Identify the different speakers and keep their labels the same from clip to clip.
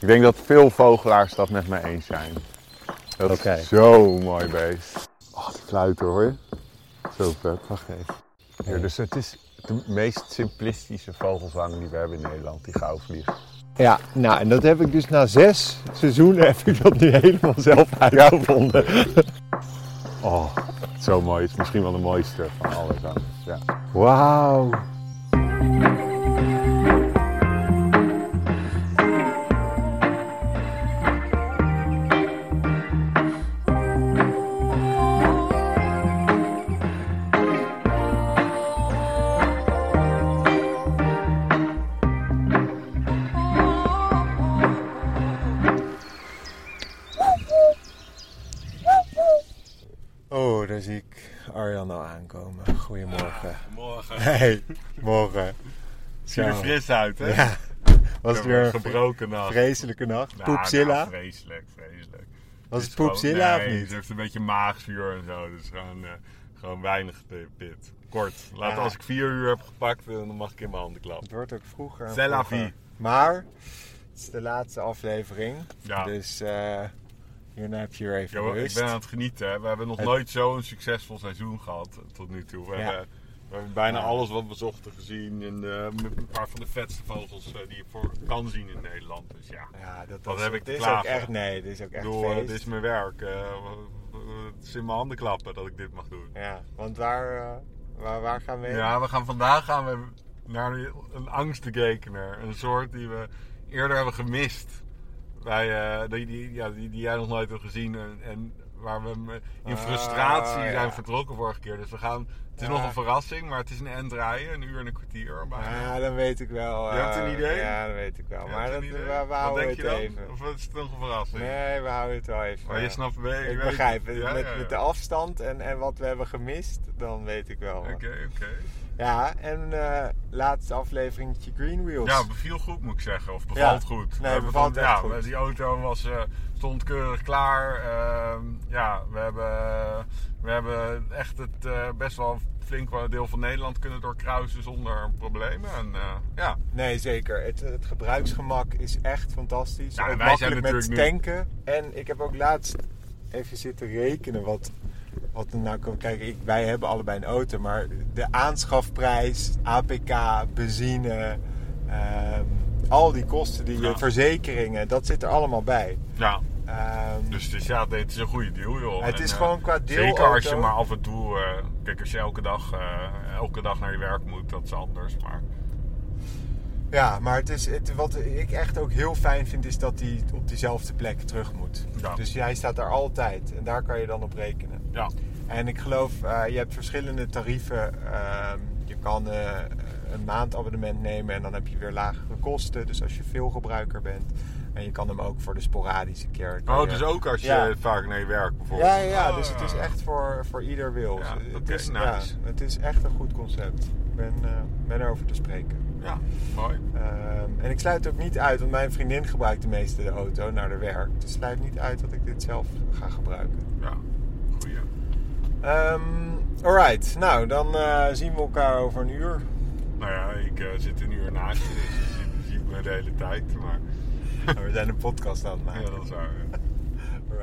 Speaker 1: Ik denk dat veel vogelaars dat met me eens zijn. Dat
Speaker 2: Oké.
Speaker 1: is zo'n mooi beest. Oh, die fluiten hoor je. Zo vet. Wacht even. Ja, dus het is de meest simplistische vogelzang die we hebben in Nederland, die gauwvlieg.
Speaker 2: Ja, nou en dat heb ik dus na zes seizoenen heb ik dat nu helemaal zelf uitgevonden.
Speaker 1: Oh, zo mooi. Het is misschien wel de mooiste van alle zangers. Ja.
Speaker 2: Wauw. Oh, daar zie ik Arjan al aankomen. Goedemorgen.
Speaker 1: Morgen.
Speaker 2: Hey, morgen.
Speaker 1: Ziet er
Speaker 2: Zo.
Speaker 1: fris uit, hè?
Speaker 2: Ja, was het
Speaker 1: Ik heb
Speaker 2: weer
Speaker 1: een
Speaker 2: een
Speaker 1: gebroken nacht.
Speaker 2: vreselijke nacht.
Speaker 1: Nou,
Speaker 2: Poepzilla.
Speaker 1: nou, vreselijk, vreselijk.
Speaker 2: Was
Speaker 1: is
Speaker 2: het poepzilla
Speaker 1: gewoon-
Speaker 2: of
Speaker 1: nee,
Speaker 2: niet?
Speaker 1: Ze heeft een beetje maagzuur en zo, dus gewoon, eh, gewoon weinig pi- pit. Kort. Laat,
Speaker 2: Ja.
Speaker 1: Als ik vier uur heb gepakt, eh, dan mag ik in mijn handen klappen.
Speaker 2: Het wordt ook vroeger. en
Speaker 1: C'est la
Speaker 2: vroeger.
Speaker 1: vie.
Speaker 2: Maar het is de laatste aflevering.
Speaker 1: Ja.
Speaker 2: Dus eh, hierna heb je weer even
Speaker 1: Ja, maar ik
Speaker 2: rust.
Speaker 1: ben aan het genieten. Hè. We hebben nog
Speaker 2: Het-
Speaker 1: nooit zo'n succesvol seizoen gehad eh, tot nu toe. We,
Speaker 2: Ja.
Speaker 1: hebben, we hebben bijna
Speaker 2: Ja.
Speaker 1: alles wat we zochten gezien. En eh, met een paar van de vetste vogels eh, die je voor kan zien in Nederland. Dus ja,
Speaker 2: Ja, dat,
Speaker 1: Wat
Speaker 2: is,
Speaker 1: heb ik
Speaker 2: dit
Speaker 1: te
Speaker 2: is ook
Speaker 1: klagen?
Speaker 2: echt, nee, dit is ook
Speaker 1: ik
Speaker 2: echt
Speaker 1: bedoel, eh,
Speaker 2: feest.
Speaker 1: dit is mijn werk. Eh, het is in mijn handen klappen dat ik dit mag doen.
Speaker 2: Ja, want waar, eh, waar, waar gaan we heen?
Speaker 1: Ja, we gaan vandaag gaan we naar een angstbekekener. Een soort die we eerder hebben gemist. Wij, eh, die, die, ja, die, die jij nog nooit hebt gezien. En, en waar we me- in
Speaker 2: Ah,
Speaker 1: frustratie
Speaker 2: ja.
Speaker 1: zijn vertrokken vorige keer. Dus we gaan... Het is
Speaker 2: Ja.
Speaker 1: nog een verrassing, maar het is een end rijden. Een uur en een kwartier. Maar,
Speaker 2: Ah, dan weet ik wel.
Speaker 1: Je hebt een
Speaker 2: eh,
Speaker 1: idee?
Speaker 2: Ja, dat weet ik wel. maar dat, we, we
Speaker 1: eh, Wat
Speaker 2: houden
Speaker 1: denk
Speaker 2: het
Speaker 1: je dan?
Speaker 2: even.
Speaker 1: Of is het nog een verrassing?
Speaker 2: Nee, we houden het wel even.
Speaker 1: Maar je snapt... Ik
Speaker 2: Ik begrijp het. met, met de afstand en, en wat we hebben gemist, dan weet ik wel.
Speaker 1: Oké, oké.
Speaker 2: Ja, en eh laatste afleveringetje Green Wheels.
Speaker 1: Ja, beviel goed moet ik zeggen. Of bevalt
Speaker 2: Ja.
Speaker 1: goed.
Speaker 2: Nee,
Speaker 1: We hebben
Speaker 2: bevalt
Speaker 1: van-
Speaker 2: echt
Speaker 1: ja,
Speaker 2: goed.
Speaker 1: maar Die auto was, eh, stond keurig klaar. Ehm, ja, we hebben, eh, we hebben echt het eh, best wel flink wat deel van Nederland kunnen doorkruisen zonder problemen. En, eh, ja.
Speaker 2: Nee, zeker. Het, het gebruiksgemak is echt fantastisch.
Speaker 1: Ja,
Speaker 2: ook
Speaker 1: en wij
Speaker 2: makkelijk
Speaker 1: zijn
Speaker 2: met
Speaker 1: natuurlijk
Speaker 2: tanken. En ik heb ook laatst even zitten rekenen wat, wat er nou kan. Kijk, ik, wij hebben allebei een auto, maar de aanschafprijs, APK, benzine, ehm, al die kosten die je
Speaker 1: Ja.
Speaker 2: verzekeringen, dat zit er allemaal bij.
Speaker 1: ja.
Speaker 2: Ehm,
Speaker 1: Dus het is, ja, nee, het is een goede deal, joh.
Speaker 2: Het is
Speaker 1: eh,
Speaker 2: gewoon qua
Speaker 1: Zeker als je
Speaker 2: deelauto.
Speaker 1: maar af en toe... eh, kijk, als je elke dag, eh, elke dag naar je werk moet, dat is anders. Maar
Speaker 2: Ja, maar het is, het, wat ik echt ook heel fijn vind, is dat hij op diezelfde plek terug moet.
Speaker 1: Ja.
Speaker 2: Dus hij staat daar altijd en daar kan je dan op rekenen.
Speaker 1: ja,
Speaker 2: En ik geloof, eh, je hebt verschillende tarieven. Ehm, je kan eh, een maandabonnement nemen en dan heb je weer lagere kosten. Dus als je veel gebruiker bent. En je kan hem ook voor de sporadische keer.
Speaker 1: oh, dus ook als je
Speaker 2: Ja.
Speaker 1: vaak naar je werk bijvoorbeeld.
Speaker 2: Ja, ja, ja,
Speaker 1: Oh,
Speaker 2: dus het is echt voor, voor ieder wil. Dus
Speaker 1: Ja,
Speaker 2: het,
Speaker 1: oké,
Speaker 2: is,
Speaker 1: nice.
Speaker 2: ja, het is echt een goed concept. Ik ben, eh ben erover te spreken.
Speaker 1: Ja, mooi.
Speaker 2: Ehm, en ik sluit ook niet uit, want mijn vriendin gebruikt de meeste de auto naar haar werk. Dus het sluit niet uit dat ik dit zelf ga gebruiken.
Speaker 1: Ja, goeie.
Speaker 2: Ehm alright, nou dan eh, zien we elkaar over een uur.
Speaker 1: Nou ja, ik eh, zit een uur naast je, dus je ziet, je ziet me de hele tijd. Maar
Speaker 2: Nou, We zijn een podcast aan het
Speaker 1: ja,
Speaker 2: maken.
Speaker 1: dat is waar. ja.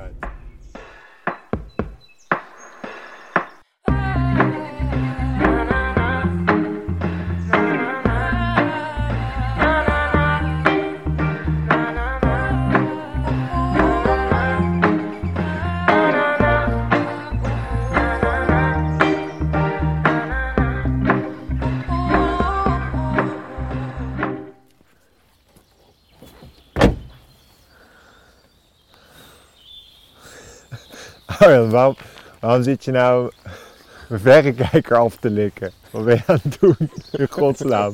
Speaker 2: Alright. Arjan, Oh waarom, waarom zit je nou een verrekijker af te likken? Wat ben je aan het doen? In godsnaam.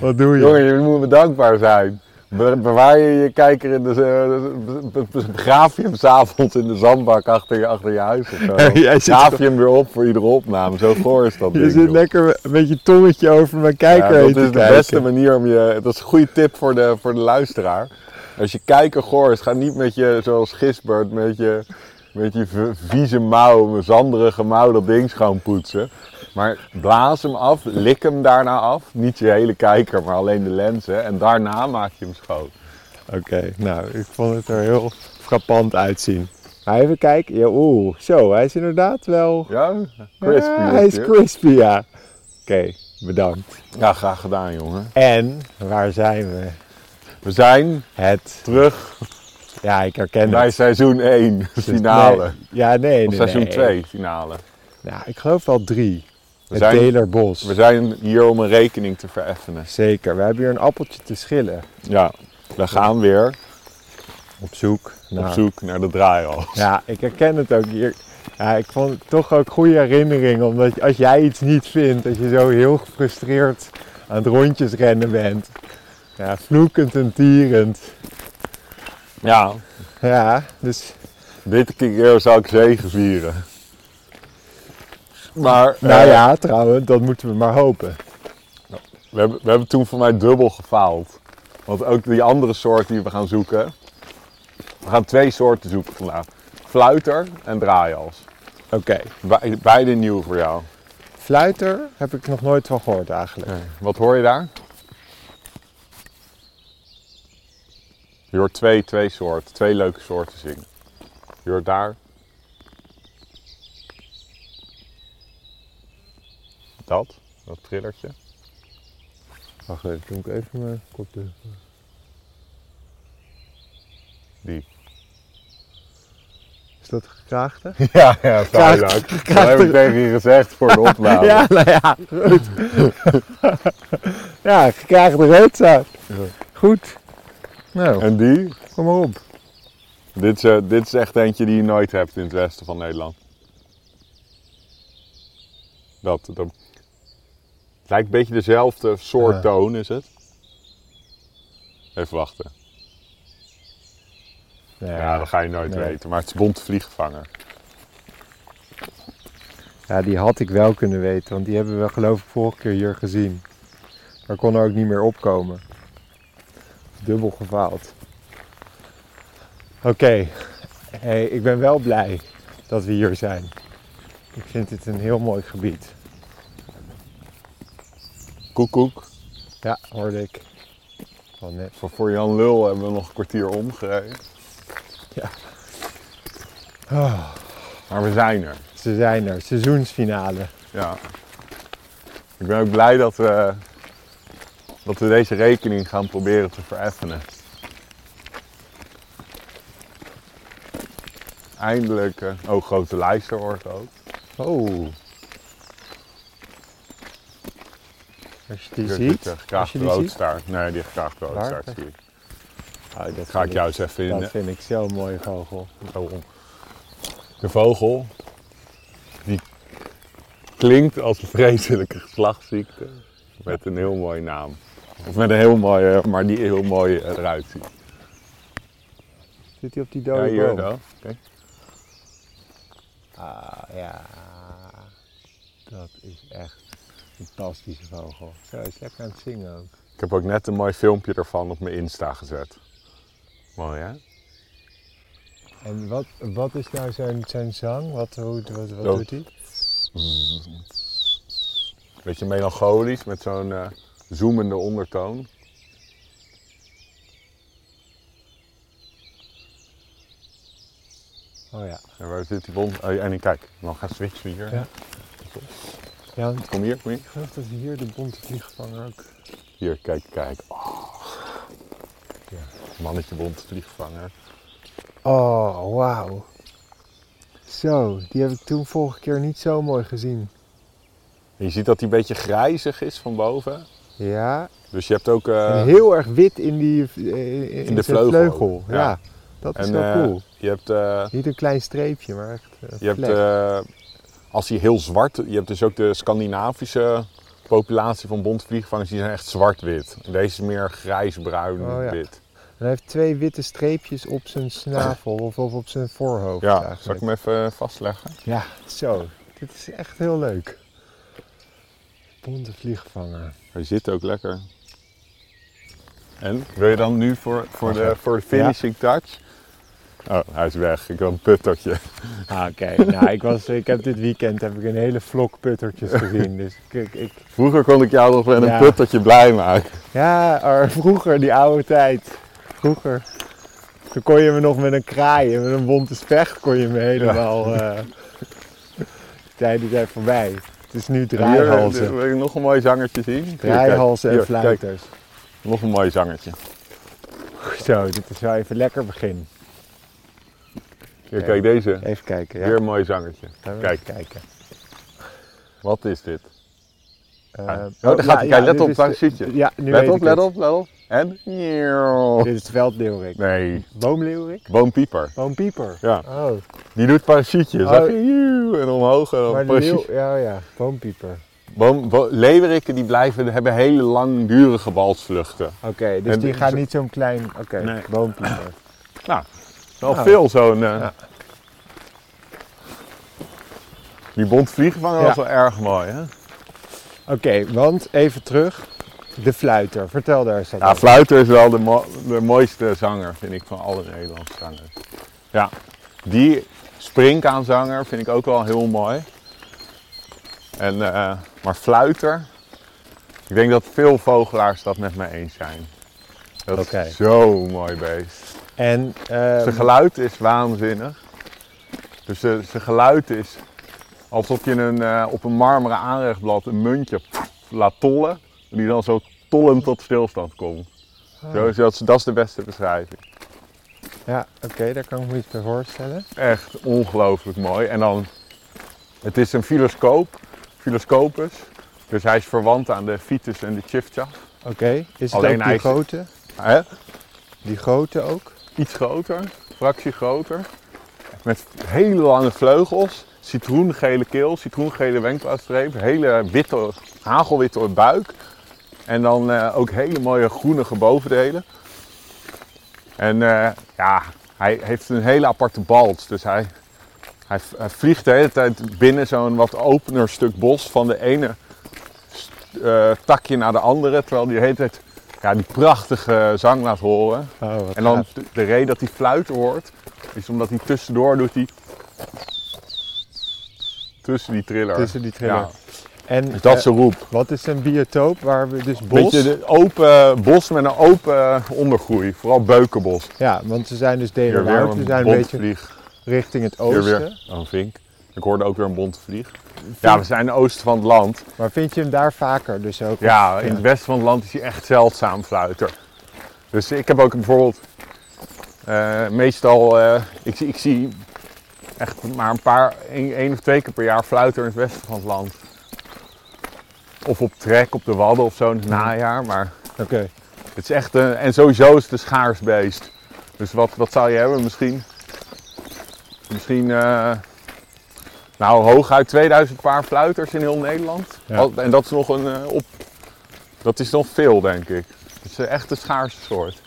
Speaker 2: Wat doe je?
Speaker 1: Jongen, je moet me dankbaar zijn. Be- bewaar je je kijker in de... eh, be- be- Begraaf je hem s'avonds in de zandbak achter je, achter je huis of zo.
Speaker 2: Jij zit
Speaker 1: Graaf je hem weer op voor iedere opname. Zo goor is dat
Speaker 2: je
Speaker 1: ding,
Speaker 2: zit
Speaker 1: joh.
Speaker 2: lekker een beetje tongetje over mijn kijker
Speaker 1: Ja,
Speaker 2: heen
Speaker 1: dat
Speaker 2: te
Speaker 1: is de
Speaker 2: kijken.
Speaker 1: beste manier om je... Dat is een goede tip voor de, voor de luisteraar. Als je kijker goor is, ga niet met je, zoals Gisbert, met je, met je v- vieze mouw, met zanderige mouw dat ding schoonpoetsen. Maar blaas hem af, lik hem daarna af. Niet je hele kijker, maar alleen de lenzen. En daarna maak je hem schoon.
Speaker 2: Oké, nou, ik vond het er heel frappant uitzien. Maar even kijken. Ja, oeh, zo, hij is inderdaad wel...
Speaker 1: Ja, crispy.
Speaker 2: Crispy. hij is
Speaker 1: natuurlijk.
Speaker 2: crispy, ja. Oké, bedankt.
Speaker 1: Ja, graag gedaan, jongen.
Speaker 2: En, waar zijn we?
Speaker 1: We zijn
Speaker 2: Het,
Speaker 1: terug
Speaker 2: ja, ik herken
Speaker 1: bij
Speaker 2: het.
Speaker 1: seizoen 1,
Speaker 2: Dus
Speaker 1: finale.
Speaker 2: nee, ja, nee, nee,
Speaker 1: Of seizoen
Speaker 2: nee.
Speaker 1: 2, finale.
Speaker 2: Nou, ik geloof wel drie. Het
Speaker 1: zijn-
Speaker 2: Telerbos.
Speaker 1: We zijn hier om een rekening te vereffenen.
Speaker 2: Zeker, we hebben hier een appeltje te schillen.
Speaker 1: Ja, we gaan weer
Speaker 2: Op zoek
Speaker 1: op
Speaker 2: naar-
Speaker 1: zoek naar de draaihal.
Speaker 2: Nou, Ja, ik herken het ook hier. Ja, ik vond het toch ook goede herinneringen. Omdat je- als jij iets niet vindt, dat je zo heel gefrustreerd aan het rondjes rennen bent. Ja, vloekend en tierend.
Speaker 1: Ja,
Speaker 2: Ja, dus
Speaker 1: dit keer zal ik zegen vieren. Maar
Speaker 2: nou
Speaker 1: eh,
Speaker 2: ja, trouwens, dat moeten we maar hopen.
Speaker 1: we, hebben, we hebben toen voor mij dubbel gefaald. Want ook die andere soort die we gaan zoeken. We gaan twee soorten zoeken vandaag. Fluiter en draaihals.
Speaker 2: Oké,
Speaker 1: Be- beide nieuw voor jou.
Speaker 2: fluiter heb ik nog nooit van gehoord eigenlijk.
Speaker 1: Wat hoor je daar? Je hoort twee, twee soorten, twee leuke soorten zingen. Je hoort daar. Dat, dat trillertje.
Speaker 2: Wacht even, doe ik even mijn kopje.
Speaker 1: Die.
Speaker 2: Is dat gekraagde?
Speaker 1: Ja, ja,
Speaker 2: Kraakt-
Speaker 1: vuilak. Dat heb ik tegen je gezegd voor de opname.
Speaker 2: Ja, nou ja, goed. ja, gekraagde roodzaak. Goed. Nou,
Speaker 1: En die?
Speaker 2: kom maar op.
Speaker 1: Dit is, eh, dit is echt eentje die je nooit hebt in het westen van Nederland. Dat, dat. Het lijkt een beetje dezelfde soort
Speaker 2: Ja.
Speaker 1: toon, is het? Even wachten. Ja, dat ga je nooit
Speaker 2: Nee.
Speaker 1: weten. Maar het is bont vliegvanger.
Speaker 2: Ja, die had ik wel kunnen weten, want die hebben we geloof ik vorige keer hier gezien. Maar kon er ook niet meer opkomen. Dubbel gefaald. Oké, hey, ik ben wel blij dat we hier zijn. Ik vind dit een heel mooi gebied.
Speaker 1: Koekoek.
Speaker 2: Ja, hoorde ik. Van net.
Speaker 1: Voor, voor Jan Lul hebben we nog een kwartier omgereden.
Speaker 2: Ja.
Speaker 1: Ah, Maar we zijn er.
Speaker 2: Ze zijn er, seizoensfinale.
Speaker 1: Ja. Ik ben ook blij dat we, dat we deze rekening gaan proberen te vereffenen. Eindelijk. eh, oh, grote lijster hoort ook.
Speaker 2: Oh. Als je die
Speaker 1: Dus dit, eh,
Speaker 2: ziet, als je
Speaker 1: Gekraagde
Speaker 2: die ziet.
Speaker 1: roodstaart. Nee, die gekraagde roodstaart
Speaker 2: Waar?
Speaker 1: zie ik.
Speaker 2: Oh, dat
Speaker 1: Ga
Speaker 2: vind
Speaker 1: ik jou eens even in.
Speaker 2: Dat vind ik zo'n mooie vogel.
Speaker 1: Vogel. De vogel, die klinkt als een vreselijke geslachtsziekte. Met een heel mooie naam. Of met een heel mooie, maar die heel mooi eh, eruit ziet.
Speaker 2: Zit hij op die
Speaker 1: Ja,
Speaker 2: dode
Speaker 1: hier
Speaker 2: boom?
Speaker 1: zo. Kijk.
Speaker 2: Ah, ja. Dat is echt een fantastische vogel. Zo, hij is lekker aan het zingen ook.
Speaker 1: Ik heb ook net een mooi filmpje ervan op mijn Insta gezet. Mooi hè?
Speaker 2: En wat, wat is nou zijn, zijn zang? Wat, hoe, wat, wat
Speaker 1: Zo.
Speaker 2: doet hij?
Speaker 1: Beetje melancholisch met zo'n eh, zoemende ondertoon.
Speaker 2: Oh ja.
Speaker 1: En waar zit die bom? Oh, en kijk, dan gaan switchen hier.
Speaker 2: Ja. Ja, want
Speaker 1: Kom hier, kom hier.
Speaker 2: ik geloof dat hier de bonte vliegvanger ook...
Speaker 1: Hier, kijk, kijk. Oh.
Speaker 2: Ja.
Speaker 1: Mannetje bont vliegvanger.
Speaker 2: Oh, wauw. Zo, die heb ik toen vorige keer niet zo mooi gezien.
Speaker 1: En je ziet dat hij een beetje grijzig is van boven.
Speaker 2: Ja,
Speaker 1: Dus je hebt ook... eh,
Speaker 2: en heel erg wit in, die, eh, in,
Speaker 1: de
Speaker 2: zijn
Speaker 1: vleugel
Speaker 2: vleugel.
Speaker 1: ook,
Speaker 2: Ja.
Speaker 1: ja.
Speaker 2: dat is
Speaker 1: en,
Speaker 2: wel
Speaker 1: eh,
Speaker 2: cool.
Speaker 1: Je hebt, eh,
Speaker 2: Niet een klein streepje, maar echt een
Speaker 1: je hebt
Speaker 2: vlek.
Speaker 1: eh, als hij heel zwart... Je hebt dus ook de Scandinavische populatie van bontvliegvangers. Die zijn echt zwart-wit. En Deze is meer grijs-bruin-wit.
Speaker 2: Oh, ja. En hij heeft twee witte streepjes op zijn snavel of, of op zijn voorhoofd
Speaker 1: Ja,
Speaker 2: eigenlijk.
Speaker 1: zal ik hem even eh, vastleggen?
Speaker 2: Ja, zo. Dit is echt heel leuk. Bonte vliegvanger.
Speaker 1: Hij zit ook lekker. En, wil je dan nu voor, voor, de,
Speaker 2: Wacht.
Speaker 1: voor de finishing touch? Oh, hij is weg. Ik had een puttertje.
Speaker 2: Ah, Oké, nou ik, was, ik heb dit weekend heb ik een hele vlok puttertjes gezien. Dus ik, ik,
Speaker 1: Vroeger kon ik jou nog met een
Speaker 2: Ja.
Speaker 1: puttertje blij maken.
Speaker 2: ja, er- vroeger die oude tijd. vroeger. Toen kon je me nog met een kraai en met een bonte specht kon je me helemaal... eh tijden zijn voorbij. Het is nu
Speaker 1: Hier, eh, dus
Speaker 2: draaihalzen.
Speaker 1: wil ik nog een mooi zangertje zien? Hier, kijk.
Speaker 2: Draaihalzen en
Speaker 1: Hier, kijk.
Speaker 2: fluiters.
Speaker 1: Nog een mooi zangertje.
Speaker 2: Zo, dit is wel even lekker begin.
Speaker 1: Hier, kijk deze.
Speaker 2: Even kijken. Ja.
Speaker 1: Weer een mooi zangertje.
Speaker 2: Gaan we
Speaker 1: Kijk,
Speaker 2: even kijken.
Speaker 1: wat is dit?
Speaker 2: Eh,
Speaker 1: Oh, daar gaat hij. Kijk, let
Speaker 2: dit
Speaker 1: op,
Speaker 2: is
Speaker 1: daar
Speaker 2: de-
Speaker 1: zit je.
Speaker 2: Ja, nu
Speaker 1: Let
Speaker 2: weet
Speaker 1: op,
Speaker 2: ik
Speaker 1: let
Speaker 2: het.
Speaker 1: op, let op. En?
Speaker 2: Dit is het veldleeuwerik.
Speaker 1: Nee,
Speaker 2: Boomleeuwerik?
Speaker 1: boompieper.
Speaker 2: Boompieper.
Speaker 1: Ja,
Speaker 2: Oh,
Speaker 1: die doet parasietjes.
Speaker 2: Oh.
Speaker 1: Zag je? Joe, En omhoog en dan
Speaker 2: maar de leeuw...
Speaker 1: parasiet.
Speaker 2: Ja, ja, boompieper.
Speaker 1: Boom, bo- leeuwerikken die blijven, hebben hele langdurige balsvluchten.
Speaker 2: Oké, dus
Speaker 1: En
Speaker 2: die
Speaker 1: dit
Speaker 2: gaat
Speaker 1: is-
Speaker 2: niet zo'n klein... Oké,
Speaker 1: Nee.
Speaker 2: boompieper.
Speaker 1: Nou, wel
Speaker 2: Nou.
Speaker 1: veel zo'n... eh, Die bontvliegvanger
Speaker 2: Ja.
Speaker 1: was wel erg mooi, hè?
Speaker 2: Oké, want even terug. De fluiter. Vertel daar eens wat
Speaker 1: Ja,
Speaker 2: over.
Speaker 1: Fluiter is wel de, mo- de mooiste zanger, vind ik, van alle Nederlandse zangers. Ja, die springkaanzanger vind ik ook wel heel mooi. En, eh, maar Fluiter, ik denk dat veel vogelaars dat met me eens zijn. Dat
Speaker 2: Oké.
Speaker 1: is zo'n mooi beest.
Speaker 2: En... ehm,
Speaker 1: Zijn geluid is waanzinnig. Dus eh, zijn geluid is alsof je een, eh, op een marmeren aanrechtblad een muntje laat tollen. Die dan zo tollend tot stilstand komt. Zo, is dat, dat is de beste beschrijving.
Speaker 2: ja, oké, daar kan ik me iets bij voorstellen.
Speaker 1: Echt ongelooflijk mooi. En dan, het is een filoscoop, filoscopus. Dus hij is verwant aan de Vitus en de Chifcha.
Speaker 2: Oké, is het
Speaker 1: Alleen
Speaker 2: ook
Speaker 1: hij
Speaker 2: die
Speaker 1: is-
Speaker 2: grote?
Speaker 1: Hè?
Speaker 2: Die grote ook?
Speaker 1: Iets groter, fractie groter. Met hele lange vleugels, citroengele keel, citroengele wenkbrauwstreep, hele witte, hagelwitte buik. En dan eh, ook hele mooie groenige bovendelen. En eh, ja, hij heeft een hele aparte balt. Dus hij, hij, v- hij vliegt de hele tijd binnen zo'n wat opener stuk bos van de ene st- eh, takje naar de andere. Terwijl hij de hele tijd ja, die prachtige zang laat horen.
Speaker 2: Oh, wat
Speaker 1: En dan
Speaker 2: gaaf.
Speaker 1: de, de reden dat hij fluiten hoort, is omdat hij tussendoor doet hij... Tussen die triller.
Speaker 2: Tussen die triller.
Speaker 1: Ja,
Speaker 2: En
Speaker 1: dus dat
Speaker 2: eh,
Speaker 1: is de roep.
Speaker 2: wat is een biotoop waar we dus bos?
Speaker 1: Beetje de open bos met een open ondergroei. Vooral beukenbos.
Speaker 2: Ja, want ze zijn dus
Speaker 1: Hier weer
Speaker 2: deelbaar.
Speaker 1: een
Speaker 2: Ze zijn een beetje
Speaker 1: bontvlieg.
Speaker 2: richting het
Speaker 1: Hier
Speaker 2: oosten.
Speaker 1: weer oh, een vink. Ik hoorde ook weer een bontvlieg. Ja, we zijn oosten van het land.
Speaker 2: Maar vind je hem daar vaker dus ook?
Speaker 1: Ja, in het westen van het land is hij echt zeldzaam fluiter. Dus ik heb ook bijvoorbeeld eh, meestal, eh, ik, zie- ik zie echt maar een paar, één één of twee keer per jaar fluiter in het westen van het land. Of op trek op de wadden of zo in het najaar. Maar
Speaker 2: Oké.
Speaker 1: het is echt een, en sowieso is het een schaars beest. Dus wat, wat zou je hebben? Misschien, misschien eh, nou hooguit 2000 paar fluiters in heel Nederland.
Speaker 2: Ja.
Speaker 1: Al- En dat is nog een eh, op, dat is nog veel denk ik. Het is eh, echt een schaarse soort.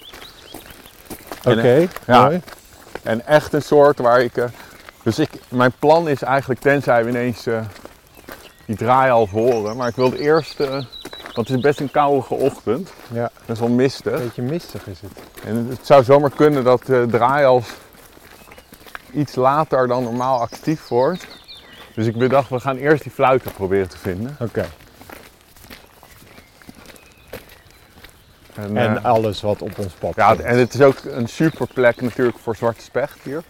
Speaker 2: Oké,
Speaker 1: ja.
Speaker 2: mooi.
Speaker 1: En echt een soort waar ik, eh, dus ik, mijn plan is eigenlijk tenzij we ineens eh, die draai al horen. Maar ik wil het eerst, eh, want het is best een koude ochtend.
Speaker 2: Ja,
Speaker 1: Het is wel mistig.
Speaker 2: een beetje mistig is het.
Speaker 1: En het zou zomaar kunnen dat de draaihalf iets later dan normaal actief wordt. Dus ik bedacht, we gaan eerst die fluiten proberen te vinden.
Speaker 2: Oké.
Speaker 1: En,
Speaker 2: En
Speaker 1: eh,
Speaker 2: alles wat op ons pad
Speaker 1: ja,
Speaker 2: komt.
Speaker 1: en het is ook een super plek natuurlijk voor zwarte specht hier.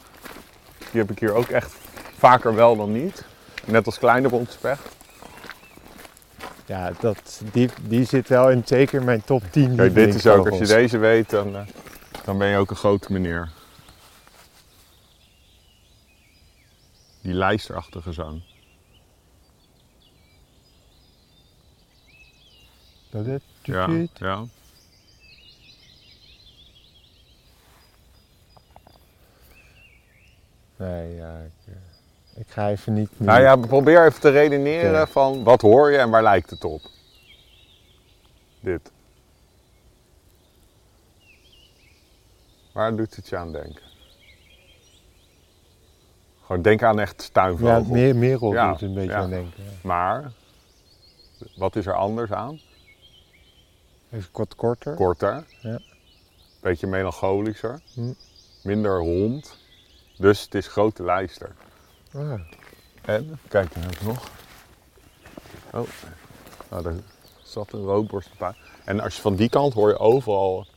Speaker 1: Die heb ik hier ook echt vaker wel dan niet. Net als kleine bondspecht.
Speaker 2: ja dat, die, die zit wel in zeker in mijn top 10
Speaker 1: Kijk, dit is ook, als je
Speaker 2: lievelingsvogels.
Speaker 1: deze weet, dan, eh, dan ben je ook een grote meneer. Die lijsterachtige zang.
Speaker 2: Dat dit-
Speaker 1: Ja, ja.
Speaker 2: Nee, ja. Ik, eh, ik ga even niet meer...
Speaker 1: Nou ja, probeer even te redeneren
Speaker 2: Oké.
Speaker 1: van wat hoor je en waar lijkt het op? Dit. Waar doet het je aan denken? Gewoon denk aan echt
Speaker 2: Ja,
Speaker 1: tuinvogel.
Speaker 2: meer, Merel
Speaker 1: Ja,
Speaker 2: doet een beetje
Speaker 1: ja.
Speaker 2: aan denken. ja.
Speaker 1: Maar, wat is er anders aan?
Speaker 2: Even wat korter.
Speaker 1: Korter.
Speaker 2: Ja.
Speaker 1: Beetje melancholischer.
Speaker 2: Hm.
Speaker 1: Minder hond. Dus het is grote lijster.
Speaker 2: Ah,
Speaker 1: En, kijk, dan heb ik nog. Oh, nou, daar zat een roodborst bij. En als je van die kant hoor je overal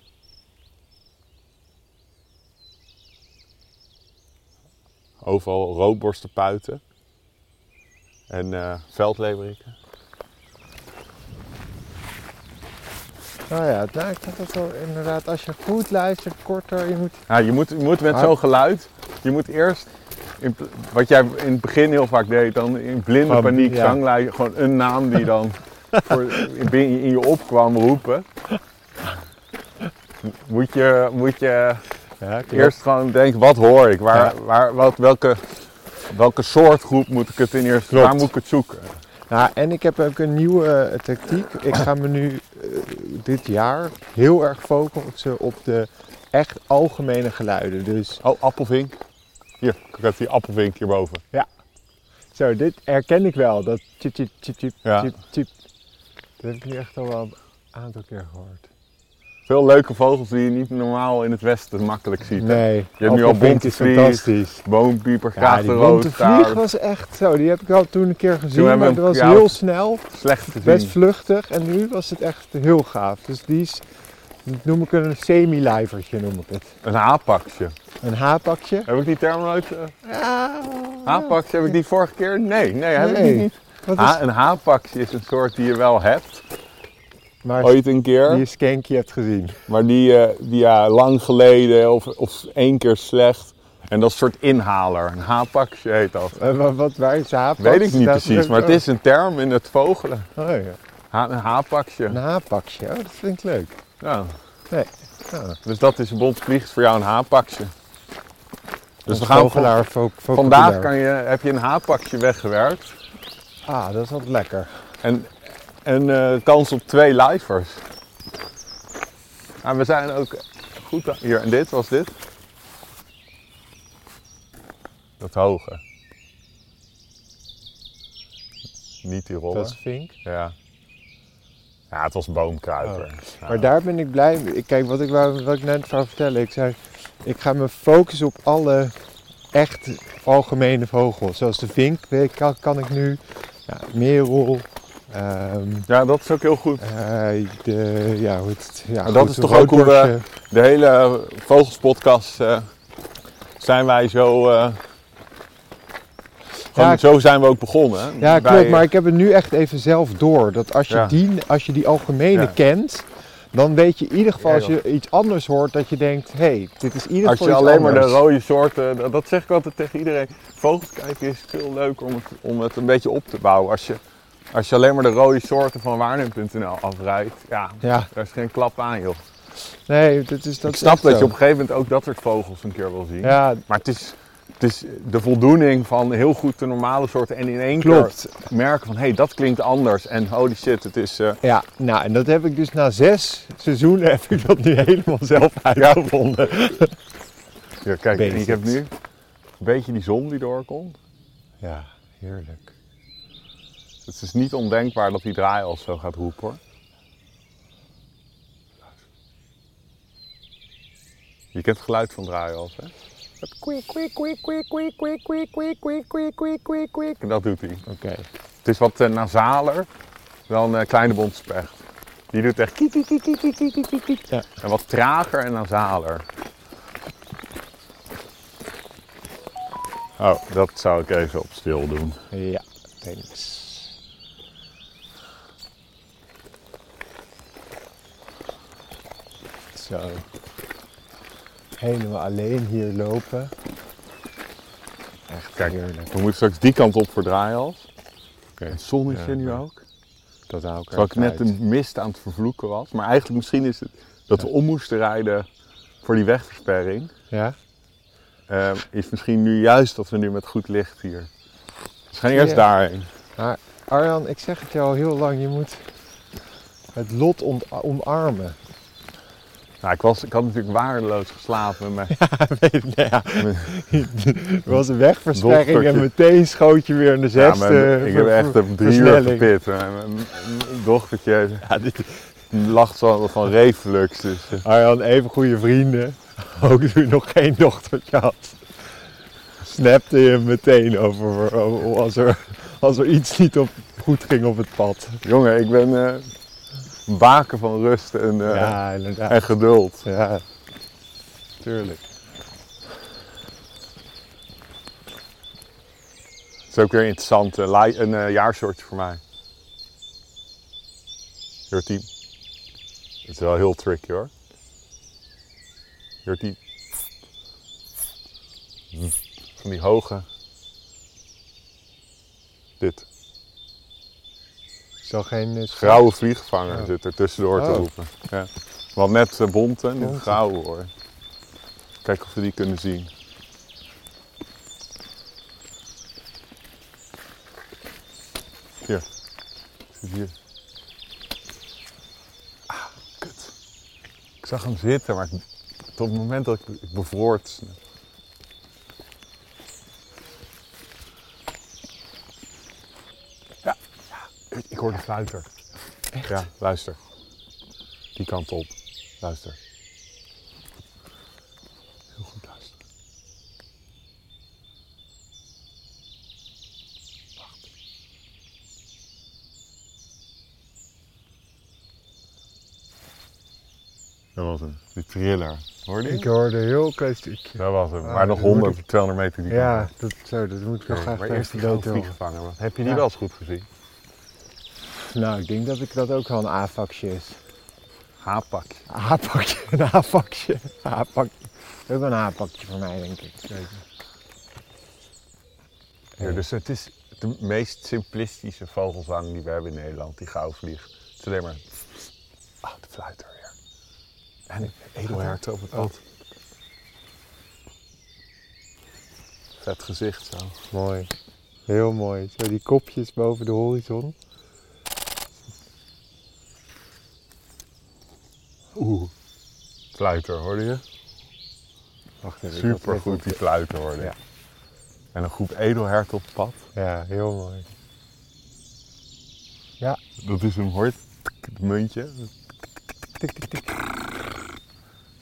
Speaker 1: Overal roodborstenpuiten. En eh, veldleeuweriken.
Speaker 2: Nou ja, nou, ik vind dat wel inderdaad, als je goed luistert, korter, je moet...
Speaker 1: Ja, Nou, je, moet, je moet met
Speaker 2: Maar-
Speaker 1: zo'n geluid, je moet eerst, in pl- wat jij in het begin heel vaak deed, dan in blinde
Speaker 2: Gewoon,
Speaker 1: paniek
Speaker 2: ja.
Speaker 1: zanglijn, gewoon een naam die dan voor, in, bin- in je opkwam roepen. Moet je, moet je
Speaker 2: Ja, klopt.
Speaker 1: eerst gewoon denken, wat hoor ik? Waar,
Speaker 2: Ja.
Speaker 1: waar, wat, welke, welke soort groep moet ik het in eerst,
Speaker 2: Klopt.
Speaker 1: waar moet ik het zoeken?
Speaker 2: Nou, en ik heb ook een nieuwe eh, tactiek. Ik ga me nu eh, dit jaar heel erg focussen op de echt algemene geluiden. Dus
Speaker 1: Oh, appelvink. Hier, ik heb die appelvink hierboven.
Speaker 2: zo, dit herken ik wel. Dat tjip, tjip, tip tjip,
Speaker 1: Ja.
Speaker 2: tjip, tjip. Dat heb ik nu echt al wel een aantal keer gehoord.
Speaker 1: Veel leuke vogels die je niet normaal in het westen makkelijk ziet. hè?
Speaker 2: Nee,
Speaker 1: nu al
Speaker 2: Appelvink
Speaker 1: bonte
Speaker 2: is
Speaker 1: vlieg,
Speaker 2: fantastisch.
Speaker 1: Boompieper,
Speaker 2: Ja, die
Speaker 1: graafrood,
Speaker 2: bonte vlieg
Speaker 1: staart,
Speaker 2: was echt zo. Die heb ik al toen een keer gezien,
Speaker 1: hebben
Speaker 2: maar
Speaker 1: we
Speaker 2: dat was
Speaker 1: hem- ja,
Speaker 2: heel snel.
Speaker 1: slecht te
Speaker 2: Best
Speaker 1: zien.
Speaker 2: vluchtig en nu was het echt heel gaaf. Dus die is, dat noem ik een semi-lijvertje noem ik het.
Speaker 1: Een haappakje.
Speaker 2: Een haapakje.
Speaker 1: Heb ik die term nooit... eh,
Speaker 2: Ja,
Speaker 1: haappakje, heb ik die vorige keer? Nee, nee, Ah, heb
Speaker 2: Nee.
Speaker 1: ik die niet.
Speaker 2: wat is,
Speaker 1: Ha- een haappakje is een soort die je wel hebt,
Speaker 2: maar
Speaker 1: ooit een
Speaker 2: die
Speaker 1: keer.
Speaker 2: je skanky hebt gezien.
Speaker 1: Maar die, eh, die ja, lang geleden of, of één keer slecht. En dat is een soort inhaler. Een haappakje heet dat.
Speaker 2: Eh, wa- wat, waar is de haapakje?
Speaker 1: Weet ik niet
Speaker 2: Staat er
Speaker 1: precies,
Speaker 2: ook-
Speaker 1: maar het is een term in het vogelen.
Speaker 2: Oh, ja.
Speaker 1: Ha- een
Speaker 2: Een
Speaker 1: haappakje.
Speaker 2: haapakje, oh, dat vind ik leuk.
Speaker 1: Ja.
Speaker 2: Nee. Ah,
Speaker 1: Dus dat is een bontvlieg voor jou een haappakje. Dus
Speaker 2: ons
Speaker 1: we gaan van,
Speaker 2: vogelaar vo- vocabulaire.
Speaker 1: vandaag kan je, heb je een haappakje weggewerkt.
Speaker 2: Ah, dat is altijd lekker.
Speaker 1: En, en eh, kans op twee livers. Maar we zijn ook goed aan- hier. En dit was dit. Dat hoge. Niet die rollen.
Speaker 2: Dat is vink.
Speaker 1: Ja. Ja, het was boomkruiper. Ja.
Speaker 2: Maar daar ben ik blij mee. Kijk, wat ik, wou- wat ik net wou vertellen. Ik zei, ik ga me focussen op alle echt algemene vogels. Zoals de vink weet ik, kan, kan ik nu. Ja, merel. ehm,
Speaker 1: ja, dat is ook heel goed.
Speaker 2: eh, de, ja, hoe heet het? Ja,
Speaker 1: Maar dat
Speaker 2: goed,
Speaker 1: is
Speaker 2: de
Speaker 1: toch ook hoe we-
Speaker 2: roodborstje.
Speaker 1: De hele eh, vogelspodcast eh, zijn wij zo... eh, gewoon,
Speaker 2: Ja,
Speaker 1: zo zijn we ook begonnen. hè?
Speaker 2: Ja,
Speaker 1: Bij- eh,
Speaker 2: klopt. Maar ik heb het nu echt even zelf door. Dat als je,
Speaker 1: Ja.
Speaker 2: die, als je die algemene
Speaker 1: Ja.
Speaker 2: kent... Dan weet je in ieder geval
Speaker 1: Ja,
Speaker 2: als je iets anders hoort dat je denkt, hé, hey, dit is in ieder
Speaker 1: Als
Speaker 2: geval
Speaker 1: je
Speaker 2: iets
Speaker 1: alleen maar de
Speaker 2: anders.
Speaker 1: rode soorten, dat, dat zeg ik altijd tegen iedereen. Vogels kijken is veel leuker om het, om het een beetje op te bouwen. Als je, als je alleen maar de rode soorten van waarneem.nl afrijdt, ja,
Speaker 2: Ja,
Speaker 1: daar is geen klap aan joh.
Speaker 2: nee, dat is dat
Speaker 1: ik
Speaker 2: is
Speaker 1: snap
Speaker 2: echt
Speaker 1: dat
Speaker 2: zo.
Speaker 1: je op een gegeven moment ook dat soort vogels een keer wil zien.
Speaker 2: Ja,
Speaker 1: Maar het is, het is de voldoening van heel goed de normale soorten en in één
Speaker 2: Klopt.
Speaker 1: keer merken van hé, hey, dat klinkt anders en holy shit, het is... eh,
Speaker 2: Ja, nou en dat heb ik dus na zes seizoenen heb ik dat nu helemaal zelf uitgevonden.
Speaker 1: ja, kijk, en ik
Speaker 2: Basics.
Speaker 1: heb nu een beetje die zon die doorkomt.
Speaker 2: Ja, heerlijk.
Speaker 1: Dus Het is niet ondenkbaar dat die draai al zo gaat roepen hoor. Je kent het geluid van draaials, hè?
Speaker 2: Kwik, kwik, kwik, kwik, kwik, kwik, kwik, kwik, kwik, kwik, kwik, kwik, kwik.
Speaker 1: En dat doet hij.
Speaker 2: Oké.
Speaker 1: Het is wat eh, nasaler dan eh kleine bondspecht. Die doet echt kiek, kiek, kiek, kiek, kiek, kiek, kiek, kiek, kiek.
Speaker 2: Ja.
Speaker 1: En wat trager en nasaler. Oh, dat zou ik even op stil doen.
Speaker 2: Ja, thanks. Zo. Helemaal alleen hier lopen. Echt
Speaker 1: Kijk.
Speaker 2: heerlijk.
Speaker 1: We moeten straks die kant op voor draaials. En het zonnetje
Speaker 2: Ja,
Speaker 1: nu
Speaker 2: ja.
Speaker 1: ook.
Speaker 2: Dat hou ik
Speaker 1: Terwijl ik
Speaker 2: erg
Speaker 1: net
Speaker 2: uit.
Speaker 1: een mist aan het vervloeken was. Maar eigenlijk misschien is het dat we om moesten rijden voor die wegversperring.
Speaker 2: Ja?
Speaker 1: Ehm, is misschien nu juist dat we nu met goed licht hier. Dus we gaan eerst
Speaker 2: Ja.
Speaker 1: daarheen.
Speaker 2: Maar Arjan, ik zeg het jou al heel lang, je moet het lot om- omarmen.
Speaker 1: Nou, ik, was, ik had natuurlijk waardeloos geslapen. Maar
Speaker 2: nou ja, er was een wegversperring en
Speaker 1: Dochtertje.
Speaker 2: meteen schoot je weer in de
Speaker 1: ja,
Speaker 2: zesde.
Speaker 1: maar ik heb echt op drie uur
Speaker 2: eh, versnelling.
Speaker 1: gepit. Mijn, mijn- mijn dochtertje lacht zo van reflux. Dus, eh,
Speaker 2: Arjan, even goede vrienden, ook toen je nog geen dochtertje had. Snapte je meteen over over- als er, als er iets niet op, goed ging op het pad.
Speaker 1: jongen, ik ben eh, baken van rust en, eh,
Speaker 2: ja, inderdaad.
Speaker 1: en geduld.
Speaker 2: Ja, tuurlijk.
Speaker 1: is ook weer een interessant eh, li- een, eh, jaarsoortje voor mij. Jurtien. Het is wel heel tricky hoor. Jurtien. Hm. Van die hoge. Dit.
Speaker 2: Is al geen... eh,
Speaker 1: Grauwe vliegvanger
Speaker 2: Ja.
Speaker 1: zit er tussendoor te
Speaker 2: Oh.
Speaker 1: roepen. Ja. Want net eh, bonte, nu
Speaker 2: Bonte.
Speaker 1: grauwe hoor. Kijk of we die kunnen zien. Hier. Zit hier. Ah, kut. Ik zag hem zitten, maar tot het moment dat ik, ik bevroor het. Ja, ja, ik- ik hoor de fluiter. Ja, luister. Die kant op. Luister. Heel goed luisteren. Wacht. Dat was hem. Die thriller. Hoor je die?
Speaker 2: Ik hoorde een heel klein stukje.
Speaker 1: Dat was hem.
Speaker 2: Ah,
Speaker 1: maar nog
Speaker 2: dat moet
Speaker 1: 100, 200 meter die kant
Speaker 2: Ja,
Speaker 1: op.
Speaker 2: dat, zo, dat moet ik nog
Speaker 1: Oké,
Speaker 2: graag
Speaker 1: maar
Speaker 2: even
Speaker 1: eerst die
Speaker 2: dood
Speaker 1: grote
Speaker 2: horen.
Speaker 1: vliegvanger. want Heb je die
Speaker 2: Ja.
Speaker 1: wel eens goed gezien?
Speaker 2: Nou, ik denk dat ik dat ook wel een A-vakje is.
Speaker 1: Haapak.
Speaker 2: A-pakje, een A-vakje. A-pakje. Ook wel een A-pakje voor mij, denk ik.
Speaker 1: Ja, dus het is de meest simplistische vogelzang die we hebben in Nederland, die gauw vliegt. Het is alleen maar... Ah, de fluiter weer. En een edelhert op het Oh. pad. Vet gezicht zo.
Speaker 2: Mooi. Heel mooi. Zo die kopjes boven de horizon.
Speaker 1: Oeh. Fluiter, hoorde je?
Speaker 2: Wacht even. ik had
Speaker 1: Super
Speaker 2: net
Speaker 1: goed die fluiter hoorde ik.
Speaker 2: Ja.
Speaker 1: En een groep edelhert op het pad.
Speaker 2: Ja, heel mooi.
Speaker 1: Dat is hem, hoor je? Tik, Het muntje.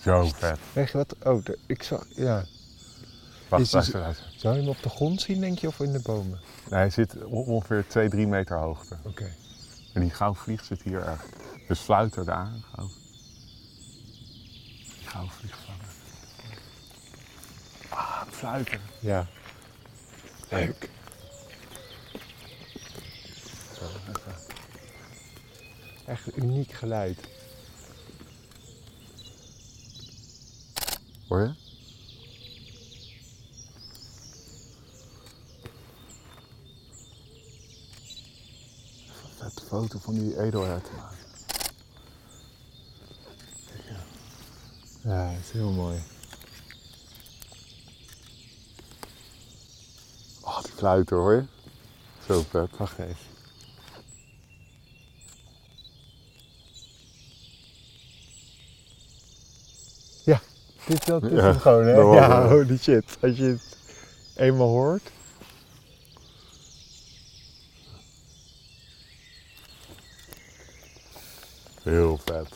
Speaker 1: Zo vet.
Speaker 2: Weet je wat? Oh, de- ik zag. Ja. Is-
Speaker 1: Wacht,
Speaker 2: is-
Speaker 1: luister, luister.
Speaker 2: Zou je hem op de grond zien, denk je, of in de bomen?
Speaker 1: Nee, hij zit op ongeveer 2, 3 meter hoogte.
Speaker 2: Oké.
Speaker 1: En die goudvlieg zit hier erg. Dus fluiter daar. Gauw. Die goudvlieg vangen. Ah, fluiter.
Speaker 2: Ja.
Speaker 1: Leuk.
Speaker 2: Echt een uniek geluid.
Speaker 1: Hoor je? Vet foto van die edelhert te maken.
Speaker 2: Ja, het is heel mooi.
Speaker 1: Oh, die fluiter hoor je? Zo vet.
Speaker 2: Wacht even. Ja, dit, dat, dit is
Speaker 1: Ja,
Speaker 2: hem gewoon, hè?
Speaker 1: dat was
Speaker 2: Ja,
Speaker 1: hem.
Speaker 2: holy shit. Als je het eenmaal hoort.
Speaker 1: Heel vet.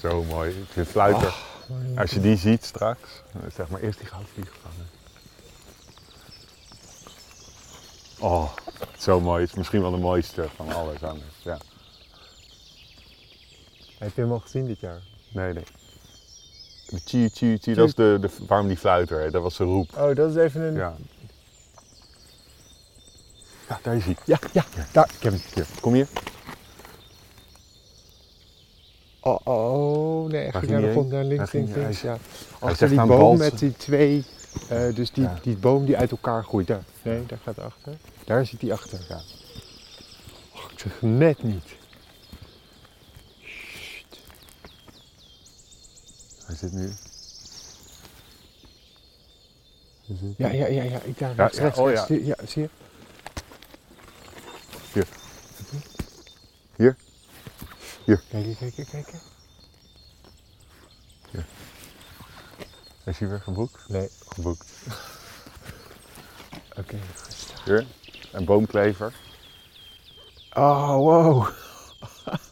Speaker 1: Zo mooi. Ik vind fluiter. Als je die ziet straks, eh, zeg maar eerst die goudvlieg vangen. Oh, zo mooi. Het is misschien wel de mooiste van alles anders. Ja.
Speaker 2: Heb je hem al gezien dit jaar?
Speaker 1: Nee, nee. De chi chi chi, dat is de, de, waarom die fluiter heet. Dat was de roep.
Speaker 2: Oh, dat is even een...
Speaker 1: Ja. Ja, daar is hij.
Speaker 2: ja, ja, daar. Ik heb hem.
Speaker 1: Hier, kom hier.
Speaker 2: Oh, oh, nee, echt
Speaker 1: Waar
Speaker 2: niet
Speaker 1: ging
Speaker 2: naar de
Speaker 1: hij
Speaker 2: grond,
Speaker 1: heen?
Speaker 2: naar
Speaker 1: Waar
Speaker 2: links,
Speaker 1: ging
Speaker 2: links,
Speaker 1: hij?
Speaker 2: links. Ja.
Speaker 1: is
Speaker 2: Achter
Speaker 1: echt
Speaker 2: die
Speaker 1: aan
Speaker 2: boom
Speaker 1: balsen.
Speaker 2: met die twee, eh, dus die,
Speaker 1: Ja.
Speaker 2: die boom die uit elkaar groeit. Daar, nee, daar gaat hij achter. Daar zit hij achter.
Speaker 1: Ja.
Speaker 2: Och, ik zeg net niet.
Speaker 1: Hij zit nu. Hij zit-
Speaker 2: Ja, ja, ja, ja, ik daar
Speaker 1: Ja,
Speaker 2: rechts,
Speaker 1: ja,
Speaker 2: rechts,
Speaker 1: oh,
Speaker 2: rechts.
Speaker 1: ja.
Speaker 2: Zie- Ja, zie je?
Speaker 1: Hier. Hier.
Speaker 2: Kijk, kijk, kijk, kijk.
Speaker 1: Is hij weer geboekt?
Speaker 2: Nee,
Speaker 1: Geboekt.
Speaker 2: oké.
Speaker 1: Hier. Een boomklever.
Speaker 2: Oh, wow.